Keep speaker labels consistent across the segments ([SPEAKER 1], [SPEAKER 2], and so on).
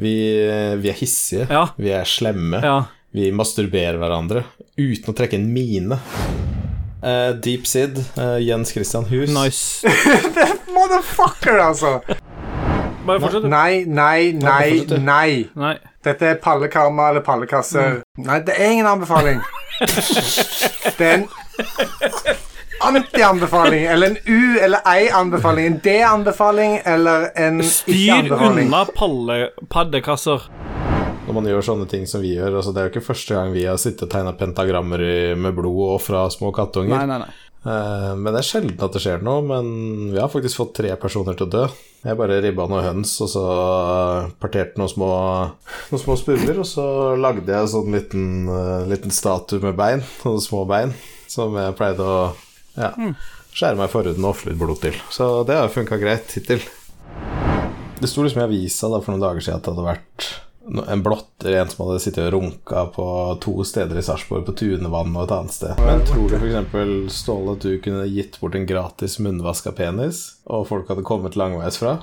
[SPEAKER 1] Vi, vi er hissige,
[SPEAKER 2] Ja.
[SPEAKER 1] vi er slemme,
[SPEAKER 2] Ja.
[SPEAKER 1] vi masturberer hverandre uten å trekke en mine. Eh, Deep Sid, eh, Jens Christian Hus.
[SPEAKER 2] Nice.
[SPEAKER 3] Motherfucker, altså!
[SPEAKER 2] Bare fortsett. du.
[SPEAKER 3] Nei, nei, nei,
[SPEAKER 1] fortsett, du.
[SPEAKER 3] nei.
[SPEAKER 2] Nei.
[SPEAKER 3] Dette er pallekarma eller pallekasse.
[SPEAKER 1] Mm.
[SPEAKER 3] Nei, det er ingen anbefaling. Det er en anti-anbefaling, eller en u- eller ei-anbefaling. En d-anbefaling eller en
[SPEAKER 2] Styr
[SPEAKER 3] ikke-anbefaling.
[SPEAKER 2] unna palle, paddekasser.
[SPEAKER 1] Når man gjør sånne ting som vi gjør altså Det er jo ikke første gang vi har sittet og tegna pentagrammer i- med blod og fra små kattunger.
[SPEAKER 2] Nei, nei, nei.
[SPEAKER 1] Eh, Men det er sjelden at det skjer noe. Men vi har faktisk fått tre personer til å dø. Jeg bare ribba noen høns, og så eh, parterte noen små, noen små spurver. Og så lagde jeg sånn liten, eh, liten statue med bein, noen små bein, som jeg pleide å ja, skjære meg i forhuden og ofre litt blod til. Så det har funka greit hittil. Det sto liksom i avisa da, for noen dager siden at det hadde vært no- en blotter, en som hadde sittet og runka på to steder i Sarpsborg, på Tunevann og et annet sted. Men tror du f.eks. Ståle at du kunne gitt bort en gratis munnvaska penis, og folk hadde kommet langveisfra?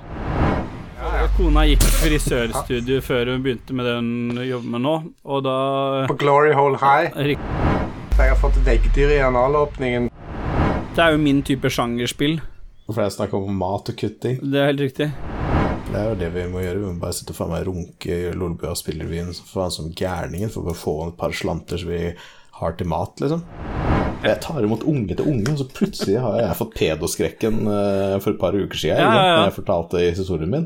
[SPEAKER 2] Kona gikk frisørstudio før hun begynte med det hun jobber med nå, og da
[SPEAKER 3] På Glory Hole High.
[SPEAKER 2] Rik-
[SPEAKER 3] Jeg har fått veggdyr i analåpningen.
[SPEAKER 2] Det er jo min type sjangerspill.
[SPEAKER 1] For det er snakk om mat og kutting.
[SPEAKER 2] Det er helt riktig.
[SPEAKER 1] Det er jo det vi må gjøre. Vi må bare sitte og faen meg runke i Lolbua og spille revyen som faen som gærningen for å bare få et par slanter som vi har til mat, liksom. Jeg tar imot unge til unge, og så plutselig har jeg fått pedoskrekken eh, for et par uker siden.
[SPEAKER 2] Ja,
[SPEAKER 1] ikke sant,
[SPEAKER 2] ja, ja.
[SPEAKER 1] Når jeg fortalte i historien min.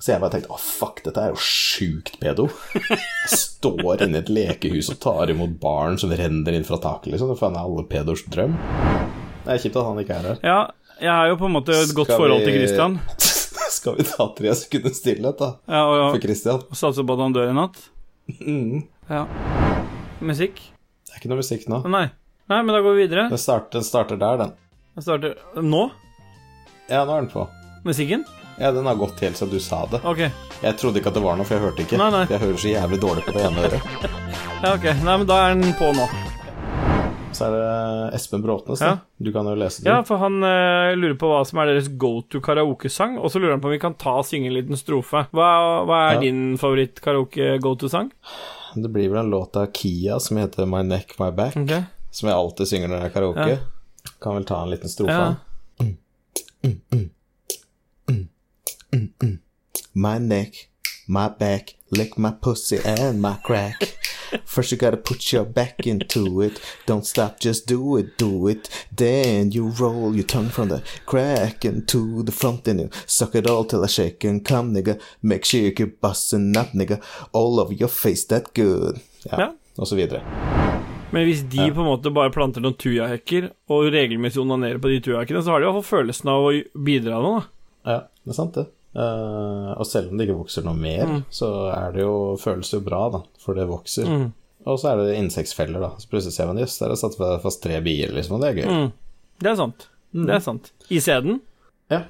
[SPEAKER 1] Så jeg bare tenkte å fuck, dette er jo sjukt pedo. Jeg står inne i et lekehus og tar imot barn som renner inn fra taket, liksom. Det faen er alle pedors drøm. Det er kjipt at han ikke er her.
[SPEAKER 2] Ja, jeg har jo på en måte et godt
[SPEAKER 1] Skal
[SPEAKER 2] forhold
[SPEAKER 1] vi-
[SPEAKER 2] til Christian.
[SPEAKER 1] Skal vi ta tre sekunder stillhet, da?
[SPEAKER 2] Ja, og,
[SPEAKER 1] For Christian.
[SPEAKER 2] og satser på at han dør i natt. Ja. Musikk?
[SPEAKER 1] Det er ikke noe musikk nå.
[SPEAKER 2] Nei. Nei, men da går vi videre.
[SPEAKER 1] Den starter, den starter der, den.
[SPEAKER 2] Jeg starter Nå?
[SPEAKER 1] Ja, nå er den på.
[SPEAKER 2] Musikken?
[SPEAKER 1] Ja, Den har gått helt siden du sa det.
[SPEAKER 2] OK.
[SPEAKER 1] Jeg trodde ikke at det var noe, for jeg hørte ikke.
[SPEAKER 2] Nei, nei.
[SPEAKER 1] For Jeg hører så jævlig dårlig på det ene øret.
[SPEAKER 2] Ja, ok. Nei, men da er den på nå.
[SPEAKER 1] Så er det eh, Espen Bråtnes, da.
[SPEAKER 2] Ja.
[SPEAKER 1] Du kan jo lese den.
[SPEAKER 2] Ja, for han eh, lurer på hva som er deres go to karaokesang, og så lurer han på om vi kan ta og synge en liten strofe. Hva, hva er
[SPEAKER 1] Ja.
[SPEAKER 2] din favoritt-karaoke-go to-sang?
[SPEAKER 1] Det blir vel en låt av Kia som heter My Neck, My Back,
[SPEAKER 2] Ok.
[SPEAKER 1] som jeg alltid synger når det er karaoke.
[SPEAKER 2] Ja.
[SPEAKER 1] Kan vel ta en liten strofe.
[SPEAKER 2] Ja.
[SPEAKER 1] da. My neck, my back, lick my pussy and my crack. First you gotta put your back into it. Don't stop, just do it, do it. Then you roll your tongue from the crack into the front and you suck it all till I shake and come, nigga. Make sure you keep busting up, nigga. All over your face, that good. Ja,
[SPEAKER 2] Ja.
[SPEAKER 1] og så videre.
[SPEAKER 2] Men hvis de på en måte bare planter noen tujahekker og regelmessig onanerer på de tujahekkene, så har de i hvert fall følelsen av å bidra nå, da.
[SPEAKER 1] Ja, det er sant det. Eh, og selv om det ikke vokser noe mer,
[SPEAKER 2] Mm.
[SPEAKER 1] så er det jo, føles det jo bra, da, for det vokser.
[SPEAKER 2] Mm.
[SPEAKER 1] Og så er det insektfeller, da. Så plutselig ser man jøss, der er det satt fast tre bier, liksom, og det er gøy.
[SPEAKER 2] Mm. Det er sant. Det er sant. I sæden?
[SPEAKER 1] Ja.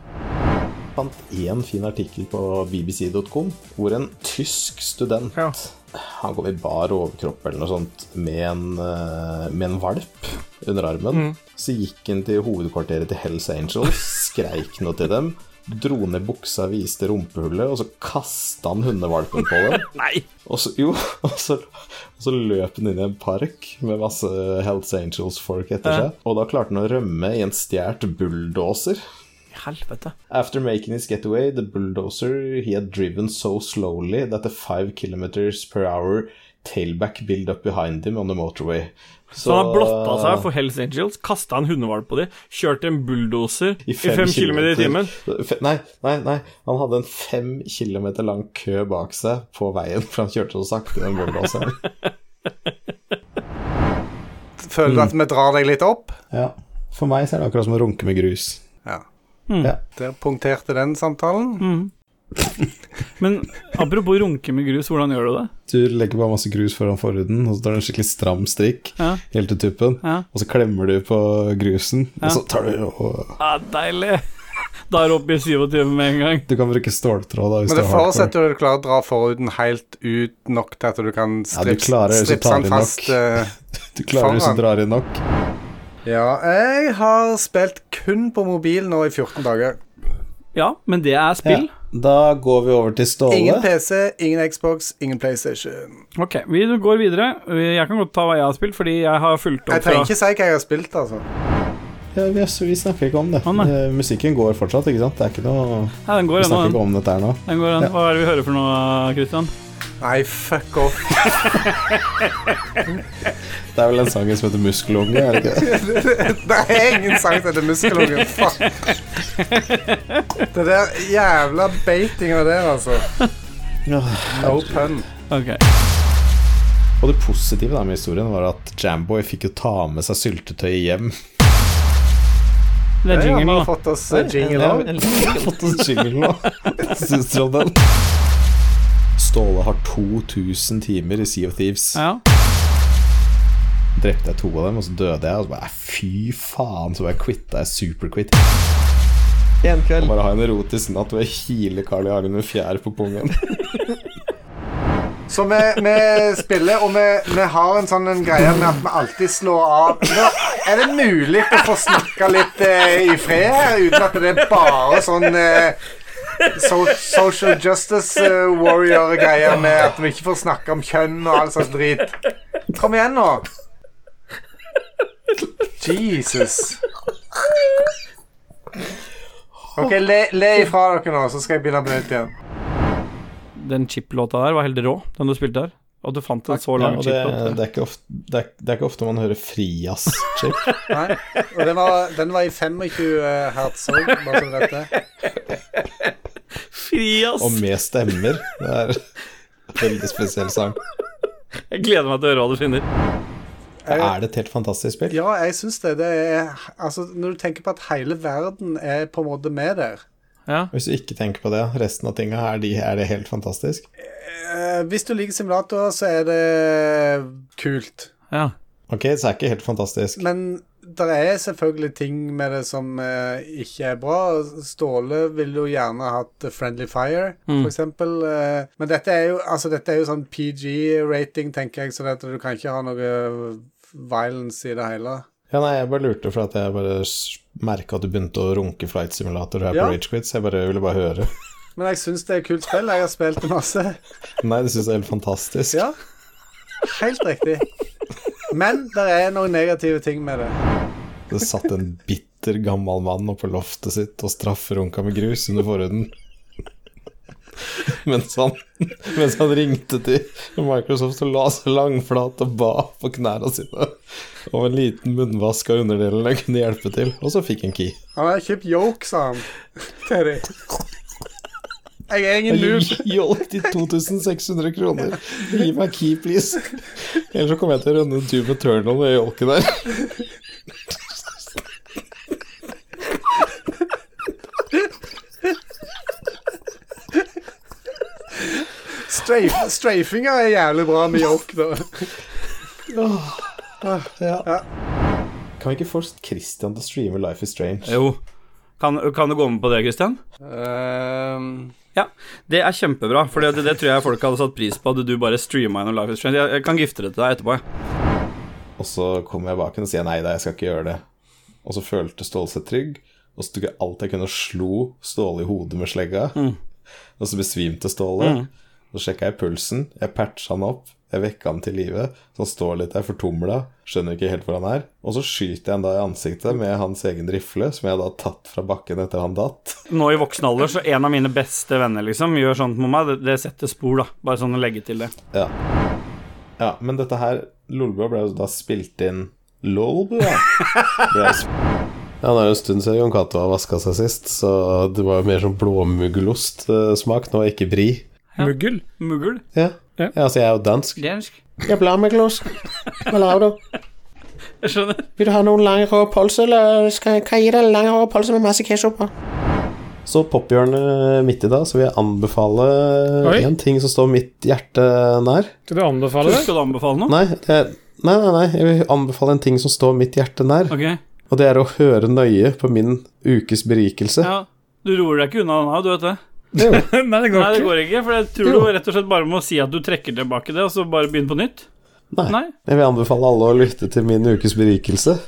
[SPEAKER 1] Fant én fin artikkel på bbc.com hvor en tysk student
[SPEAKER 2] Ja.
[SPEAKER 1] Han kom i bar overkropp eller noe sånt med en, eh, med en valp under armen.
[SPEAKER 2] Mm.
[SPEAKER 1] Så gikk han til hovedkvarteret til Hells Angels, skreik noe til dem, dro ned buksa, viste rumpehullet, og så kasta han hundevalpen på dem.
[SPEAKER 2] Nei!
[SPEAKER 1] Og så, jo, og så, og så løp han inn i en park med masse Hells Angels-folk etter seg. Og da klarte han å rømme i en stjålet bulldoser.
[SPEAKER 2] Helvete.
[SPEAKER 1] After making his getaway, the bulldozer he had driven so slowly that the five kilometers per hour tailback built up behind him on the motorway.
[SPEAKER 2] Så han har blotta seg for Hells Angels, kasta en hundevalp på de, kjørt en bulldoser i fem kilometer i timen.
[SPEAKER 1] Fe- Nei, nei, nei. Han hadde en fem kilometer lang kø bak seg på veien, for han kjørte så sakte, den bulldoseren. Mm.
[SPEAKER 3] Føler du at vi drar deg litt opp?
[SPEAKER 1] ja. For meg så er det akkurat som å runke med grus.
[SPEAKER 3] Ja.
[SPEAKER 2] Hmm.
[SPEAKER 1] Ja.
[SPEAKER 3] Der punkterte den samtalen.
[SPEAKER 2] Men apropos runke med grus, hvordan gjør du det?
[SPEAKER 1] Du legger bare masse grus foran forhuden, og så tar du en skikkelig stram strikk
[SPEAKER 2] Ja.
[SPEAKER 1] helt til tuppen,
[SPEAKER 2] Ja.
[SPEAKER 1] og så klemmer du på grusen,
[SPEAKER 2] Ja.
[SPEAKER 1] og så tar du og
[SPEAKER 2] Ah, deilig! Da er det oppe i 27 med en gang.
[SPEAKER 1] Du kan bruke ståltråd da, hvis
[SPEAKER 3] Men det
[SPEAKER 1] du har
[SPEAKER 3] forutsetter jo at du klarer å dra forhuden helt ut nok til at du kan
[SPEAKER 1] du
[SPEAKER 3] strips,
[SPEAKER 1] klarer det, så
[SPEAKER 3] stripse
[SPEAKER 1] tar de
[SPEAKER 3] den fast.
[SPEAKER 1] nok.
[SPEAKER 3] eh,
[SPEAKER 1] Du klarer hvis
[SPEAKER 4] liksom
[SPEAKER 3] Faen.
[SPEAKER 1] du drar i nok.
[SPEAKER 3] ja, jeg har spilt kun på mobil nå i 14 dager.
[SPEAKER 2] Ja, men det er spill.
[SPEAKER 1] Ja.
[SPEAKER 4] Da går vi over til
[SPEAKER 3] Ingen
[SPEAKER 4] Ståle.
[SPEAKER 3] PC, ingen Xbox, ingen PlayStation.
[SPEAKER 2] Ok, vi går videre. Jeg kan godt ta hva jeg har spilt, fordi jeg har fulgt
[SPEAKER 3] Jeg
[SPEAKER 2] opp
[SPEAKER 3] trenger ikke si hva jeg har spilt, altså.
[SPEAKER 4] Ja, vi, vi snakker ikke om det.
[SPEAKER 2] Å, nei.
[SPEAKER 4] Eh, Musikken går fortsatt, ikke sant? Det er ikke noe
[SPEAKER 2] Nei, den
[SPEAKER 4] Vi
[SPEAKER 2] går
[SPEAKER 4] snakker
[SPEAKER 2] ennå,
[SPEAKER 4] ikke om dette her nå.
[SPEAKER 2] den. den går ennå. Hva er det vi hører for noe, Christian?
[SPEAKER 3] Nei, fuck off.
[SPEAKER 4] Det er vel den sangen som heter 'Muskelunge'? er det ikke det?
[SPEAKER 3] det er ingen sang til dette muskelungen. Fuck. Det der jævla beitinga der, altså. No pun.
[SPEAKER 2] Ok.
[SPEAKER 4] Og det positive da med historien var at Jamboy fikk jo ta med seg syltetøyet hjem.
[SPEAKER 2] Det er
[SPEAKER 3] Ja, vi
[SPEAKER 2] jingle,
[SPEAKER 3] har
[SPEAKER 2] da.
[SPEAKER 3] fått oss eh, jingle
[SPEAKER 4] Ja,
[SPEAKER 3] òg.
[SPEAKER 4] vi har fått oss jingle nå. Hva Syns dere om den? Ståle har 2000 timer i Sea of Thieves.
[SPEAKER 2] Ja.
[SPEAKER 4] Drepte jeg to av dem, og så døde jeg. Og så bare fy faen, så bare quitta jeg superquit.
[SPEAKER 5] En kveld.
[SPEAKER 4] Bare ha en erotisk natt hvor jeg hiler Carl I. Hagen med fjær på pungen.
[SPEAKER 3] Så vi, vi spiller, og vi, vi har en sånn en greie med at vi alltid slår av Nå, Er det mulig å få snakke litt eh, i fred her, uten at det er bare sånn eh, so Social justice eh, warrior-greier med at vi ikke får snakke om kjønn og all slags drit. Kom igjen, nå. Jesus. OK, le, le ifra dere nå, så skal jeg begynne på nytt igjen.
[SPEAKER 2] Den chip-låta der var helt rå, den du spilte der. At du fant en så
[SPEAKER 4] Ja,
[SPEAKER 2] lang
[SPEAKER 4] og det,
[SPEAKER 2] chip-låt.
[SPEAKER 4] det, er ikke ofte, det, er, det er ikke ofte man hører frias-chip.
[SPEAKER 3] Nei, og den var, den var i 25 hertz òg, bare så du vet det.
[SPEAKER 2] Fri, ass!
[SPEAKER 4] Og med stemmer. Det er en veldig spesiell sang.
[SPEAKER 2] Jeg gleder meg til å høre hva du finner.
[SPEAKER 4] Er det et helt fantastisk spill?
[SPEAKER 3] Ja, jeg syns det. det er, altså, når du tenker på at hele verden er på en måte med der
[SPEAKER 2] Ja.
[SPEAKER 4] Hvis du ikke tenker på det, resten av tinga, er, de, er det helt fantastisk?
[SPEAKER 3] Eh, Hvis du liker simulatorer, så er det kult.
[SPEAKER 2] ja.
[SPEAKER 4] Ok, så er det ikke helt fantastisk.
[SPEAKER 3] Men det er selvfølgelig ting med det som eh, ikke er bra. Ståle ville jo gjerne hatt Friendly Fire, for eksempel. eh, men dette er jo, altså, dette er jo sånn PG-rating, tenker jeg, så dette, du kan ikke ha noe violence i det hele.
[SPEAKER 4] Ja, nei, jeg bare lurte for at jeg bare merka at du begynte å runke flight simulator her
[SPEAKER 3] Ja.
[SPEAKER 4] på Rage Quit, så jeg bare ville bare høre.
[SPEAKER 3] Men jeg syns det er et kult spill. Jeg har spilt det masse.
[SPEAKER 4] Nei, det syns jeg er helt fantastisk.
[SPEAKER 3] Ja, helt riktig. Men det er noen negative ting med det.
[SPEAKER 4] Det satt en bitter gammel mann oppå loftet sitt og strafferunka med grus under forhuden. Mens han, mens han ringte til Microsoft og la seg langflat og ba på knærne sine om en liten munnvask av underdelene kunne hjelpe til, og så fikk han key.
[SPEAKER 3] Han har kjøpt yoke, sa han. Til de. Jeg er ingen noob.
[SPEAKER 4] Jolk til 2600 kroner. Gi meg key, please. Ellers så kommer jeg til å runde Doom Eternal med jolken der.
[SPEAKER 3] Strafe, strafinga er jævlig bra med yoke, da.
[SPEAKER 4] Ja. Kan vi ikke få Christian til å streame Life is Strange?
[SPEAKER 2] Jo. Kan, kan du gå med på det, Christian? Ja, det er kjempebra, for det, det tror jeg folk hadde satt pris på hadde du bare streama gjennom Life is Strange. Jeg, jeg kan gifte det til deg etterpå. jeg.
[SPEAKER 4] Og så kom jeg bak henne og sier nei da, jeg skal ikke gjøre det. Og så følte Ståle seg trygg, og så tok jeg alt jeg kunne og slo Ståle i hodet med slegga. Og så besvimte Ståle. Så sjekka jeg pulsen, jeg patcha han opp, jeg vekka han til live. Så han står litt der fortumla, skjønner ikke helt hvor han er. Og så skyter jeg han da i ansiktet med hans egen rifle, som jeg da har tatt fra bakken etter han datt.
[SPEAKER 2] Nå i voksen alder, så en av mine beste venner liksom gjør sånt med meg. Det, det setter spor, da. Bare sånn å legge til det.
[SPEAKER 4] Ja, ja men dette her Lolbua ble jo da spilt inn Lolbua? Ble sp ja, det er jo en stund siden Jon Cato har vaska seg sist, så det var jo mer sånn blåmuggulostsmak nå, ikke bri.
[SPEAKER 2] Muggel? Muggel?
[SPEAKER 4] Ja.
[SPEAKER 2] Ja.
[SPEAKER 4] ja, altså jeg er jo dansk.
[SPEAKER 2] Dansk.
[SPEAKER 4] Jeg blir muggelost. Hva lager du?
[SPEAKER 2] Jeg skjønner.
[SPEAKER 4] Vil du ha noen lange, rå pølser, eller skal jeg gi deg lange, rå pølser med masse ketsjup på? Så pophjørnet midt i dag, så vil jeg anbefale
[SPEAKER 6] Oi.
[SPEAKER 4] én ting som står mitt hjerte nær.
[SPEAKER 6] Skal du anbefale det?
[SPEAKER 2] Skal du anbefale noe?
[SPEAKER 4] Nei, jeg, nei, nei, nei, jeg vil anbefale en ting som står mitt hjerte nær.
[SPEAKER 2] Ok.
[SPEAKER 4] Og det er å høre nøye på min ukes berikelse.
[SPEAKER 2] Ja. Du roer deg ikke unna den her, du vet det.
[SPEAKER 6] Nei, det
[SPEAKER 2] Nei,
[SPEAKER 6] går
[SPEAKER 2] det
[SPEAKER 6] ikke.
[SPEAKER 2] går ikke, for jeg tror du rett og slett bare må si at du trekker tilbake det, og så bare begynne på nytt.
[SPEAKER 4] Nei.
[SPEAKER 2] Nei.
[SPEAKER 4] Jeg vil anbefale alle å lytte til min ukes berikelse.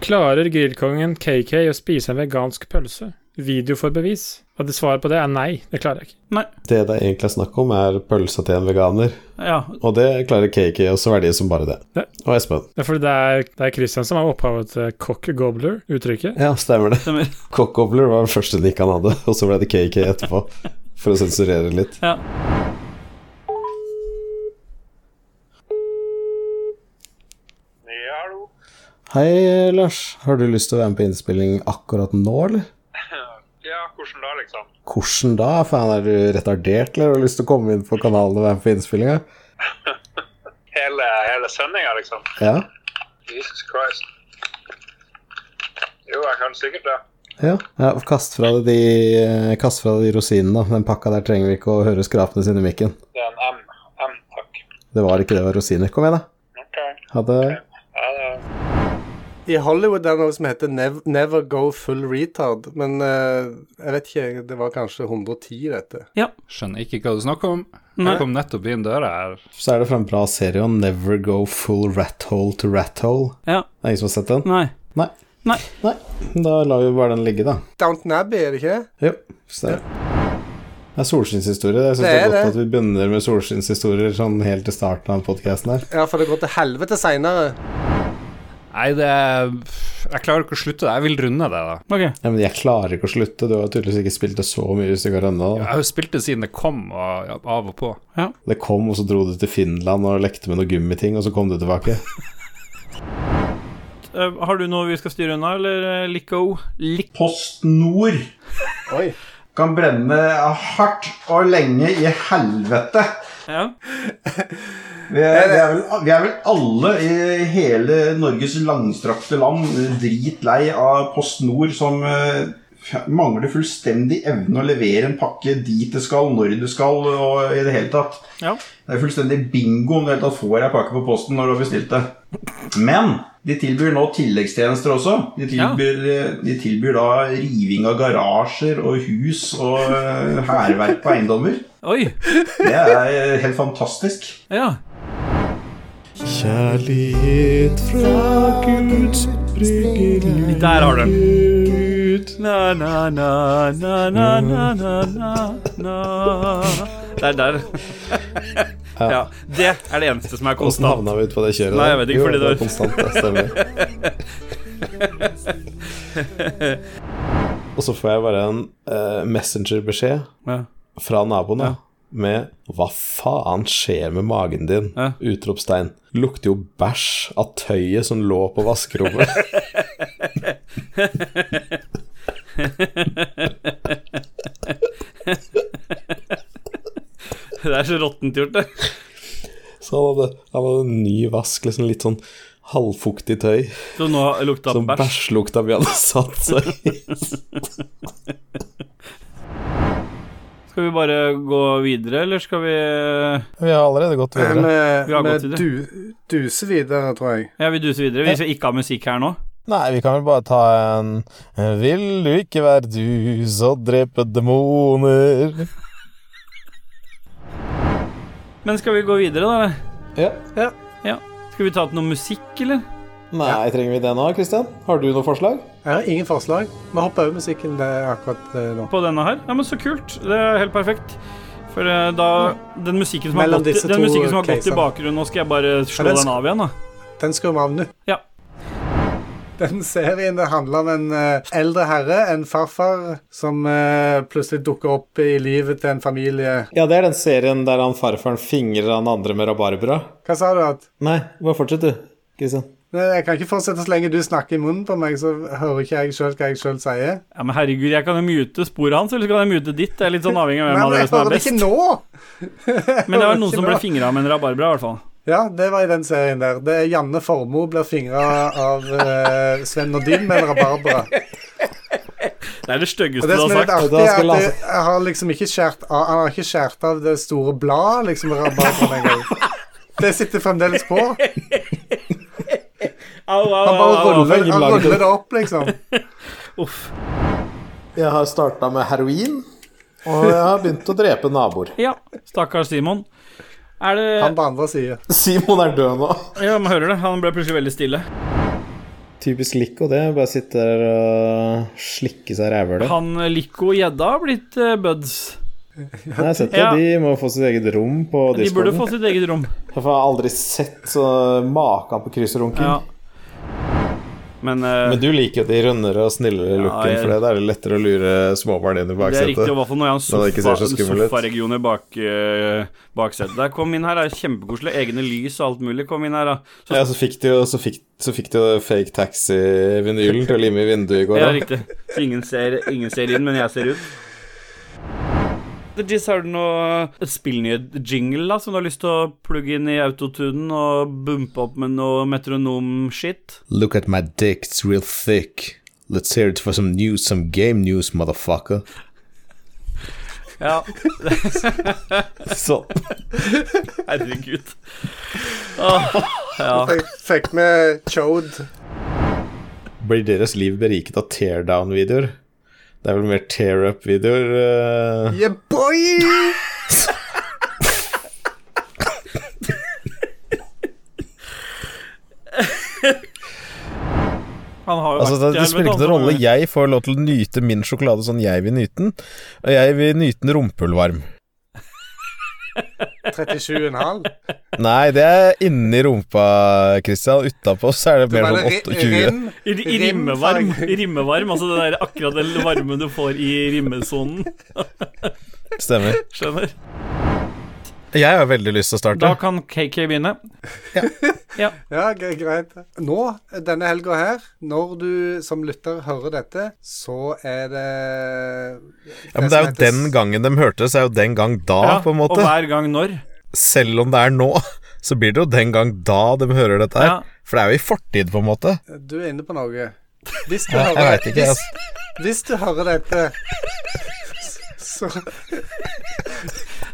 [SPEAKER 6] Klarer grillkongen KK å spise en vegansk pølse? Video for bevis. At svaret på det er nei. Det klarer jeg ikke.
[SPEAKER 4] Det det egentlig er snakk om, er pølsa til en veganer.
[SPEAKER 2] Ja,
[SPEAKER 4] Og det klarer Kiki å svelge som bare det.
[SPEAKER 6] Ja.
[SPEAKER 4] Og Espen.
[SPEAKER 6] Det er fordi det er, det er Christian som er opphavet til cock gobbler, uttrykket.
[SPEAKER 4] Ja, stemmer det.
[SPEAKER 2] stemmer.
[SPEAKER 4] Cockobler var den første lik han hadde, og så ble det KK etterpå. For å sensurere litt.
[SPEAKER 2] Ja.
[SPEAKER 7] Ja, hallo.
[SPEAKER 4] Hei, Lars. Har du lyst til å være med på innspilling akkurat nå, eller?
[SPEAKER 7] Ja, hvordan da, liksom?
[SPEAKER 4] Hvordan da? Faen, er du retardert, eller har du lyst til å komme inn på kanalen og være med på innspillinga?
[SPEAKER 7] Hele, hele sendinga, liksom?
[SPEAKER 4] Ja?
[SPEAKER 7] Jesus Christ. Jo, jeg kan sikkert det.
[SPEAKER 4] Ja. ja kast, fra deg de, eh, kast fra deg de rosinene, da. Den pakka der trenger vi ikke å høre skrapene sine i mikken.
[SPEAKER 7] Det er en M. M, takk.
[SPEAKER 4] Det var ikke det, det var rosiner. Kom igjen, da.
[SPEAKER 7] OK.
[SPEAKER 4] Ha det.
[SPEAKER 7] Ja, det
[SPEAKER 3] I Hollywood er det noe som heter Nev Never Go Full Retard, men eh, jeg vet ikke, det var kanskje 110 dette.
[SPEAKER 8] Skjønner ikke hva du snakker om.
[SPEAKER 2] Nei.
[SPEAKER 8] Jeg kom nettopp inn døra her.
[SPEAKER 4] Så er det fra en bra serie om Never Go Full Rat Hole to Rat Hole.
[SPEAKER 2] Ja.
[SPEAKER 4] Det er ingen som har sett den?
[SPEAKER 2] Nei.
[SPEAKER 4] Nei.
[SPEAKER 2] Nei.
[SPEAKER 4] Nei. Da lar vi bare den ligge, da.
[SPEAKER 3] Downton Abbey, er det ikke det?
[SPEAKER 4] Jo, stemmer. Det er solskinnshistorie. Jeg syns
[SPEAKER 3] Det
[SPEAKER 4] det,
[SPEAKER 3] er
[SPEAKER 4] er godt
[SPEAKER 3] det.
[SPEAKER 4] at vi begynner med solskinnshistorier sånn helt til starten av podkasten her.
[SPEAKER 3] Ja, for det går til helvete seinere.
[SPEAKER 8] Nei, det Jeg klarer ikke å slutte det. Jeg vil runde det, da.
[SPEAKER 2] Ok.
[SPEAKER 4] Ja, men jeg klarer ikke å slutte. Du har tydeligvis ikke spilt det så mye hvis du går ennå.
[SPEAKER 8] Jeg
[SPEAKER 4] da.
[SPEAKER 8] har jo spilt det siden det kom, og ja, av og på.
[SPEAKER 4] Det kom, og så dro du til Finland og lekte med noen gummiting, og så kom du tilbake.
[SPEAKER 2] Eh, har du noe vi skal styre unna, eller eh, Lico? Lik
[SPEAKER 1] Post Nord
[SPEAKER 3] Oi.
[SPEAKER 1] kan brenne hardt og lenge i helvete.
[SPEAKER 2] ja.
[SPEAKER 1] Vi er, vi er, vel, vi er vel alle i hele Norges langstrakte land dritlei av Post Nord som eh, mangler fullstendig evne å levere en pakke dit det skal, når det skal, og i det hele tatt.
[SPEAKER 2] Ja.
[SPEAKER 1] Det er fullstendig bingo om du i det hele tatt får ei pakke på posten når du har bestilt det. Men de tilbyr nå tilleggstjenester også. De tilbyr, de tilbyr da riving av garasjer og hus og eh, hærverk på eiendommer.
[SPEAKER 2] Oi.
[SPEAKER 1] Det er eh, helt fantastisk.
[SPEAKER 2] Ja.
[SPEAKER 4] Kjærlighet fra Guds brygge
[SPEAKER 2] Der har du den. Na, na, na, na, na, na, na, na, na. Der, der. ja. Det er det eneste som er
[SPEAKER 4] Åssen
[SPEAKER 2] konstant.
[SPEAKER 4] havna vi ut på det kjøret?
[SPEAKER 2] Nei, jeg
[SPEAKER 4] der?
[SPEAKER 2] vet ikke,
[SPEAKER 4] jo,
[SPEAKER 2] fordi det
[SPEAKER 4] det
[SPEAKER 2] var-
[SPEAKER 4] var konstant, det stemmer. og så får jeg bare en eh, messengerbeskjed
[SPEAKER 2] Ja.
[SPEAKER 4] fra naboen da, med 'Hva faen skjer med magen din?'
[SPEAKER 2] Ja.
[SPEAKER 4] Utropstegn. Lukter jo bæsj av tøyet som lå på vaskerommet.
[SPEAKER 2] Det er så råttent gjort, det.
[SPEAKER 4] så han hadde, han hadde ny vask, liksom litt sånn halvfuktig tøy.
[SPEAKER 2] Så nå lukta
[SPEAKER 4] Som
[SPEAKER 2] bæsj.
[SPEAKER 4] bæsjlukta vi hadde satt seg i.
[SPEAKER 2] Skal vi bare gå videre, eller skal vi
[SPEAKER 4] vi har allerede gått videre.
[SPEAKER 2] Vi har gått
[SPEAKER 3] Vi
[SPEAKER 2] videre.
[SPEAKER 3] Eh, du, duser videre, tror jeg.
[SPEAKER 2] Ja, vi duser videre. Vi skal ikke ha musikk her nå.
[SPEAKER 4] Nei, vi kan vel bare ta en eh, Vil du ikke være du, så drepe demoner.
[SPEAKER 2] Men skal vi gå videre, da?
[SPEAKER 4] Ja.
[SPEAKER 2] Skal vi ta til noe musikk, eller?
[SPEAKER 4] Nei, trenger vi det nå, Kristian? Har du noe forslag?
[SPEAKER 3] Jeg har ingen forslag. Vi hopper over musikken det er akkurat eh, nå.
[SPEAKER 2] På denne her? Ja, men så kult. Det er helt perfekt. For eh, da Den musikken som har
[SPEAKER 3] Mellom
[SPEAKER 2] gått, i-
[SPEAKER 3] disse
[SPEAKER 2] den
[SPEAKER 3] to
[SPEAKER 2] musikken som har gått i
[SPEAKER 3] casene.
[SPEAKER 2] bakgrunnen, nå skal jeg bare slå
[SPEAKER 3] den
[SPEAKER 2] den
[SPEAKER 3] sk-
[SPEAKER 2] av igjen, da.
[SPEAKER 3] Den skrur vi av nå.
[SPEAKER 2] Ja.
[SPEAKER 3] Den serien det handler om en eh, eldre herre, en farfar, som eh, plutselig dukker opp i livet til en familie.
[SPEAKER 4] Ja, det er den serien der han farfaren fingrer han andre med rabarbra.
[SPEAKER 3] Hva sa du? at?
[SPEAKER 4] Nei, bare fortsett du, Kristian.
[SPEAKER 3] Nei, Jeg kan ikke fortsette så lenge du snakker i munnen på meg, så hører ikke jeg sjøl hva jeg sjøl sier.
[SPEAKER 2] Ja, men herregud, jeg kan jo mute sporet hans, eller så kan jeg mute ditt. Det er litt sånn avhengig av hvem av
[SPEAKER 3] Nei, men
[SPEAKER 2] dere
[SPEAKER 3] jeg
[SPEAKER 2] som er
[SPEAKER 3] hører det
[SPEAKER 2] best.
[SPEAKER 3] ikke nå!
[SPEAKER 2] Men det var
[SPEAKER 3] hører
[SPEAKER 2] noen
[SPEAKER 3] ikke
[SPEAKER 2] som
[SPEAKER 3] nå.
[SPEAKER 2] ble fingra med en rabarbra, i hvert fall.
[SPEAKER 3] Ja, det var i den serien der. Det er Janne Formoe blir fingra av eh, Sven Nordin med en rabarbra.
[SPEAKER 2] Det er det
[SPEAKER 3] Og
[SPEAKER 2] styggeste
[SPEAKER 3] det
[SPEAKER 2] du
[SPEAKER 3] som
[SPEAKER 2] har
[SPEAKER 3] er
[SPEAKER 2] sagt.
[SPEAKER 3] litt artig,
[SPEAKER 4] Da
[SPEAKER 3] er
[SPEAKER 4] skal
[SPEAKER 3] at
[SPEAKER 4] jeg
[SPEAKER 3] det, jeg har liksom ikke skjært av, han har ikke skjært av det store bladet, liksom, rabarbraen engang. Det sitter fremdeles på. Han
[SPEAKER 2] Au, au, au,
[SPEAKER 3] bare
[SPEAKER 2] au, au.
[SPEAKER 3] ruller,
[SPEAKER 4] ingen
[SPEAKER 3] han
[SPEAKER 4] lager
[SPEAKER 3] ruller det opp, liksom.
[SPEAKER 2] Uff.
[SPEAKER 4] Jeg har starta med heroin, og jeg har begynt å drepe naboer.
[SPEAKER 2] Ja, stakkars Simon. Er det
[SPEAKER 3] Han på andre siden.
[SPEAKER 4] Simon er død nå.
[SPEAKER 2] Ja, man hører det. Han ble plutselig veldig stille.
[SPEAKER 9] Typisk Lico, det. Bare sitte der og slikke seg rævhølet.
[SPEAKER 2] Han eh, Lico og gjedda har blitt eh, buds.
[SPEAKER 9] Nei, jeg har sett det.
[SPEAKER 2] Ja.
[SPEAKER 9] De må få sitt eget rom på
[SPEAKER 2] De burde
[SPEAKER 9] discorden.
[SPEAKER 2] få sitt eget rom.
[SPEAKER 4] Jeg har aldri sett så maken på krysserunken.
[SPEAKER 2] Ja. Men, eh,
[SPEAKER 4] Men du liker jo de rundere og snillere looken,
[SPEAKER 2] jeg-
[SPEAKER 4] for det er det lettere å lure småbarn inn i
[SPEAKER 2] det er riktig,
[SPEAKER 4] baksetet.
[SPEAKER 2] og i hvert fall når jeg
[SPEAKER 4] Når det ikke ser
[SPEAKER 2] har
[SPEAKER 4] så
[SPEAKER 2] en
[SPEAKER 4] skummel ut.
[SPEAKER 2] sofa- sofaregion i bak, eh, baksetet der. Kom inn her, det er kjempekoselig. Egne lys og alt mulig. Kom inn her, da. Så,
[SPEAKER 4] Ja, så fikk de jo så fikk, så fikk de jo fake taxi-vinylen til å lime i vinduet i går.
[SPEAKER 2] Ja,
[SPEAKER 4] da.
[SPEAKER 2] riktig. Så ingen ser, ingen ser inn, men jeg ser ut. The Jizz, har du noe et spillnyhet-jingle da, som du har lyst til å plugge inn i autotunen og bumpe opp med noe metronom-shit?
[SPEAKER 4] Look at my dick, it's real thick. Let's hear it for some news, some game news, motherfucker.
[SPEAKER 2] Ja,
[SPEAKER 4] Sånn.
[SPEAKER 2] herregud. Åh, ja.
[SPEAKER 3] Jeg fikk med Chode.
[SPEAKER 4] Blir deres liv beriket av teardown-videoer? Det er vel mer tear-up-videoer? eh,
[SPEAKER 3] Yeah, boy!
[SPEAKER 2] Han har jo
[SPEAKER 4] Altså, det,
[SPEAKER 2] vært i
[SPEAKER 4] det
[SPEAKER 2] helvete,
[SPEAKER 4] spiller ikke
[SPEAKER 2] han,
[SPEAKER 4] noen
[SPEAKER 2] så-
[SPEAKER 4] rolle. Jeg får lov til å nyte min sjokolade sånn jeg vil nyte den. Og jeg vil nyte den rumpehullvarm.
[SPEAKER 3] 37,5.
[SPEAKER 4] Nei, det er inni rumpa, Christian. Utapå så er det mer
[SPEAKER 3] Bare
[SPEAKER 4] sånn
[SPEAKER 3] ri-
[SPEAKER 4] 28.
[SPEAKER 3] rim-
[SPEAKER 2] I, i rimmevarm,
[SPEAKER 3] rimfarge.
[SPEAKER 2] i rimmevarm, altså det der, akkurat den varmen du får i rimmesonen.
[SPEAKER 4] Stemmer.
[SPEAKER 2] Skjønner?
[SPEAKER 4] Jeg har veldig lyst til å
[SPEAKER 2] Da
[SPEAKER 4] starte.
[SPEAKER 2] kan KK begynne.
[SPEAKER 3] Ja, gre- greit. Nå, denne helga her, når du som lytter hører dette, så er det
[SPEAKER 4] Ja, men det er jo den gangen de hørtes, er jo den gang da,
[SPEAKER 2] Ja,
[SPEAKER 4] på en
[SPEAKER 2] Og
[SPEAKER 4] måte.
[SPEAKER 2] hver gang når.
[SPEAKER 4] Selv om det er nå, så blir det jo den gang da de hører dette her.
[SPEAKER 2] Ja.
[SPEAKER 4] For det er jo i fortid, på en måte.
[SPEAKER 3] Du er inne på noe. Hvis du,
[SPEAKER 4] Jeg
[SPEAKER 3] hører,
[SPEAKER 4] veit ikke.
[SPEAKER 3] hvis,
[SPEAKER 4] Altså.
[SPEAKER 3] hvis du hører dette, så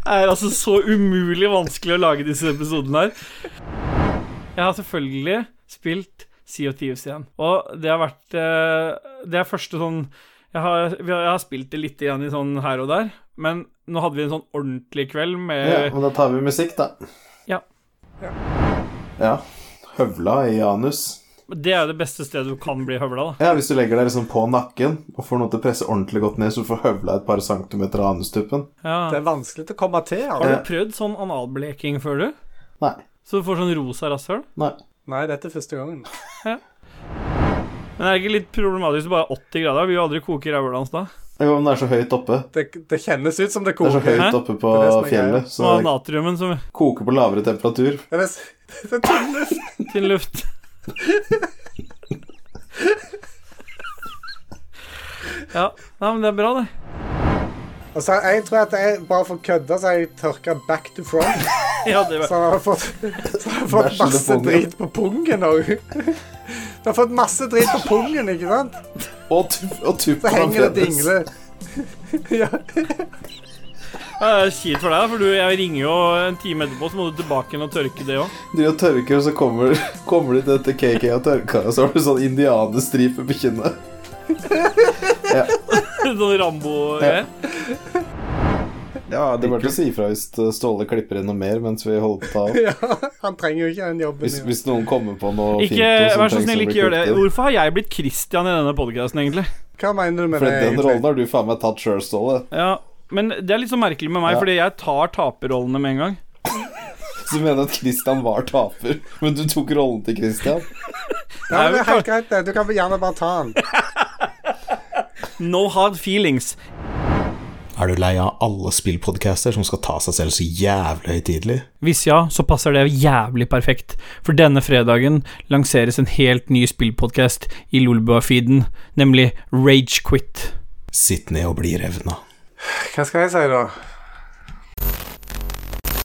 [SPEAKER 2] er altså så umulig vanskelig å lage disse episodene her. Jeg har selvfølgelig spilt Sea of Thieves igjen, og det har vært eh, Det er første sånn jeg har, vi har, jeg har spilt det litt igjen i sånn her og der, men nå hadde vi en sånn ordentlig kveld med
[SPEAKER 4] men da tar vi musikk, da.
[SPEAKER 2] Ja.
[SPEAKER 4] Ja. Høvla i anus.
[SPEAKER 2] Det er jo det beste stedet du kan bli høvla, da.
[SPEAKER 4] Ja, hvis du legger deg liksom på nakken og får noe til å presse ordentlig godt ned, så du får høvla et par centimeter av anustuppen.
[SPEAKER 3] Det
[SPEAKER 2] Ja.
[SPEAKER 3] er vanskelig til å komme til.
[SPEAKER 2] Har
[SPEAKER 3] Altså.
[SPEAKER 2] du prøvd sånn analbleking før, du?
[SPEAKER 4] Nei.
[SPEAKER 2] Så du får sånn rosa rasshøl?
[SPEAKER 4] Nei.
[SPEAKER 3] Nei, dette er første gangen.
[SPEAKER 2] Men er det ikke litt problematisk bare 80 grader? Vi vil jo aldri koke ræva hans da.
[SPEAKER 4] Jo, men det er så høyt oppe.
[SPEAKER 3] Det, det kjennes ut som det
[SPEAKER 4] Det er så
[SPEAKER 3] koker.
[SPEAKER 4] høyt
[SPEAKER 2] Hæ?
[SPEAKER 4] oppe på
[SPEAKER 3] Det er det som er greia.
[SPEAKER 4] fjellet, så
[SPEAKER 2] Som har
[SPEAKER 4] det
[SPEAKER 2] natriumen som
[SPEAKER 4] koker på lavere temperatur.
[SPEAKER 3] Det er s- det er tynn luft.
[SPEAKER 2] tynn luft. ja. Nei, men det er bra, det.
[SPEAKER 3] Og så har- jeg tror at jeg bare for å kødde, så har jeg tørka back to front.
[SPEAKER 2] Ja, det
[SPEAKER 3] Så han har fått, så han har fått
[SPEAKER 4] Bæsjende
[SPEAKER 3] masse
[SPEAKER 4] pungen.
[SPEAKER 3] drit på pungen òg. Du har fått masse drit på pungen, ikke sant?
[SPEAKER 4] Og, tu og
[SPEAKER 3] Så
[SPEAKER 4] tuppen
[SPEAKER 3] henger det dingler. Ja.
[SPEAKER 2] er kjipt for deg, da, for du, jeg ringer jo en time etterpå, så må du tilbake igjen og tørke det òg.
[SPEAKER 4] Du og tørker, og så kommer, kommer du til dette KK og tørker, og så har du sånn indianerstripe på kinnet.
[SPEAKER 2] Sånn Rambo
[SPEAKER 4] Ja.
[SPEAKER 2] ja.
[SPEAKER 4] Ja, det er bare til å si ifra hvis eh, Ståle klipper inn noe mer mens vi holder på å ta opp.
[SPEAKER 3] ja. Han trenger jo ikke den jobben.
[SPEAKER 4] Hvis,
[SPEAKER 3] jo.
[SPEAKER 4] hvis noen kommer på noe fint.
[SPEAKER 2] Ikke,
[SPEAKER 4] og som
[SPEAKER 2] Vær så
[SPEAKER 4] trengs å
[SPEAKER 2] snill,
[SPEAKER 4] bli
[SPEAKER 2] ikke gjør det.
[SPEAKER 4] klippet inn.
[SPEAKER 2] Hvorfor har jeg blitt Christian i denne podkasten, egentlig?
[SPEAKER 3] Hva mener du med
[SPEAKER 4] For
[SPEAKER 3] det?
[SPEAKER 4] den rollen
[SPEAKER 3] egentlig?
[SPEAKER 4] har du faen meg tatt sjøl, Ståle.
[SPEAKER 2] Ja, men det er litt så merkelig med meg,
[SPEAKER 4] Ja.
[SPEAKER 2] fordi jeg tar taperrollene med en gang.
[SPEAKER 4] Så du mener at Christian var taper, men du tok rollen til Christian?
[SPEAKER 3] Ja, men det er helt greit, det. Du kan gjerne bare ta den.
[SPEAKER 2] No hard feelings.
[SPEAKER 4] Er du lei av alle spillpodcaster som skal ta seg selv så jævlig høytidelig?
[SPEAKER 2] Hvis ja, så passer det jævlig perfekt, for denne fredagen lanseres en helt ny spillpodkast i Lolbua-feeden, nemlig Ragequit.
[SPEAKER 4] Sitt ned og bli revna.
[SPEAKER 3] Hva skal jeg si, da?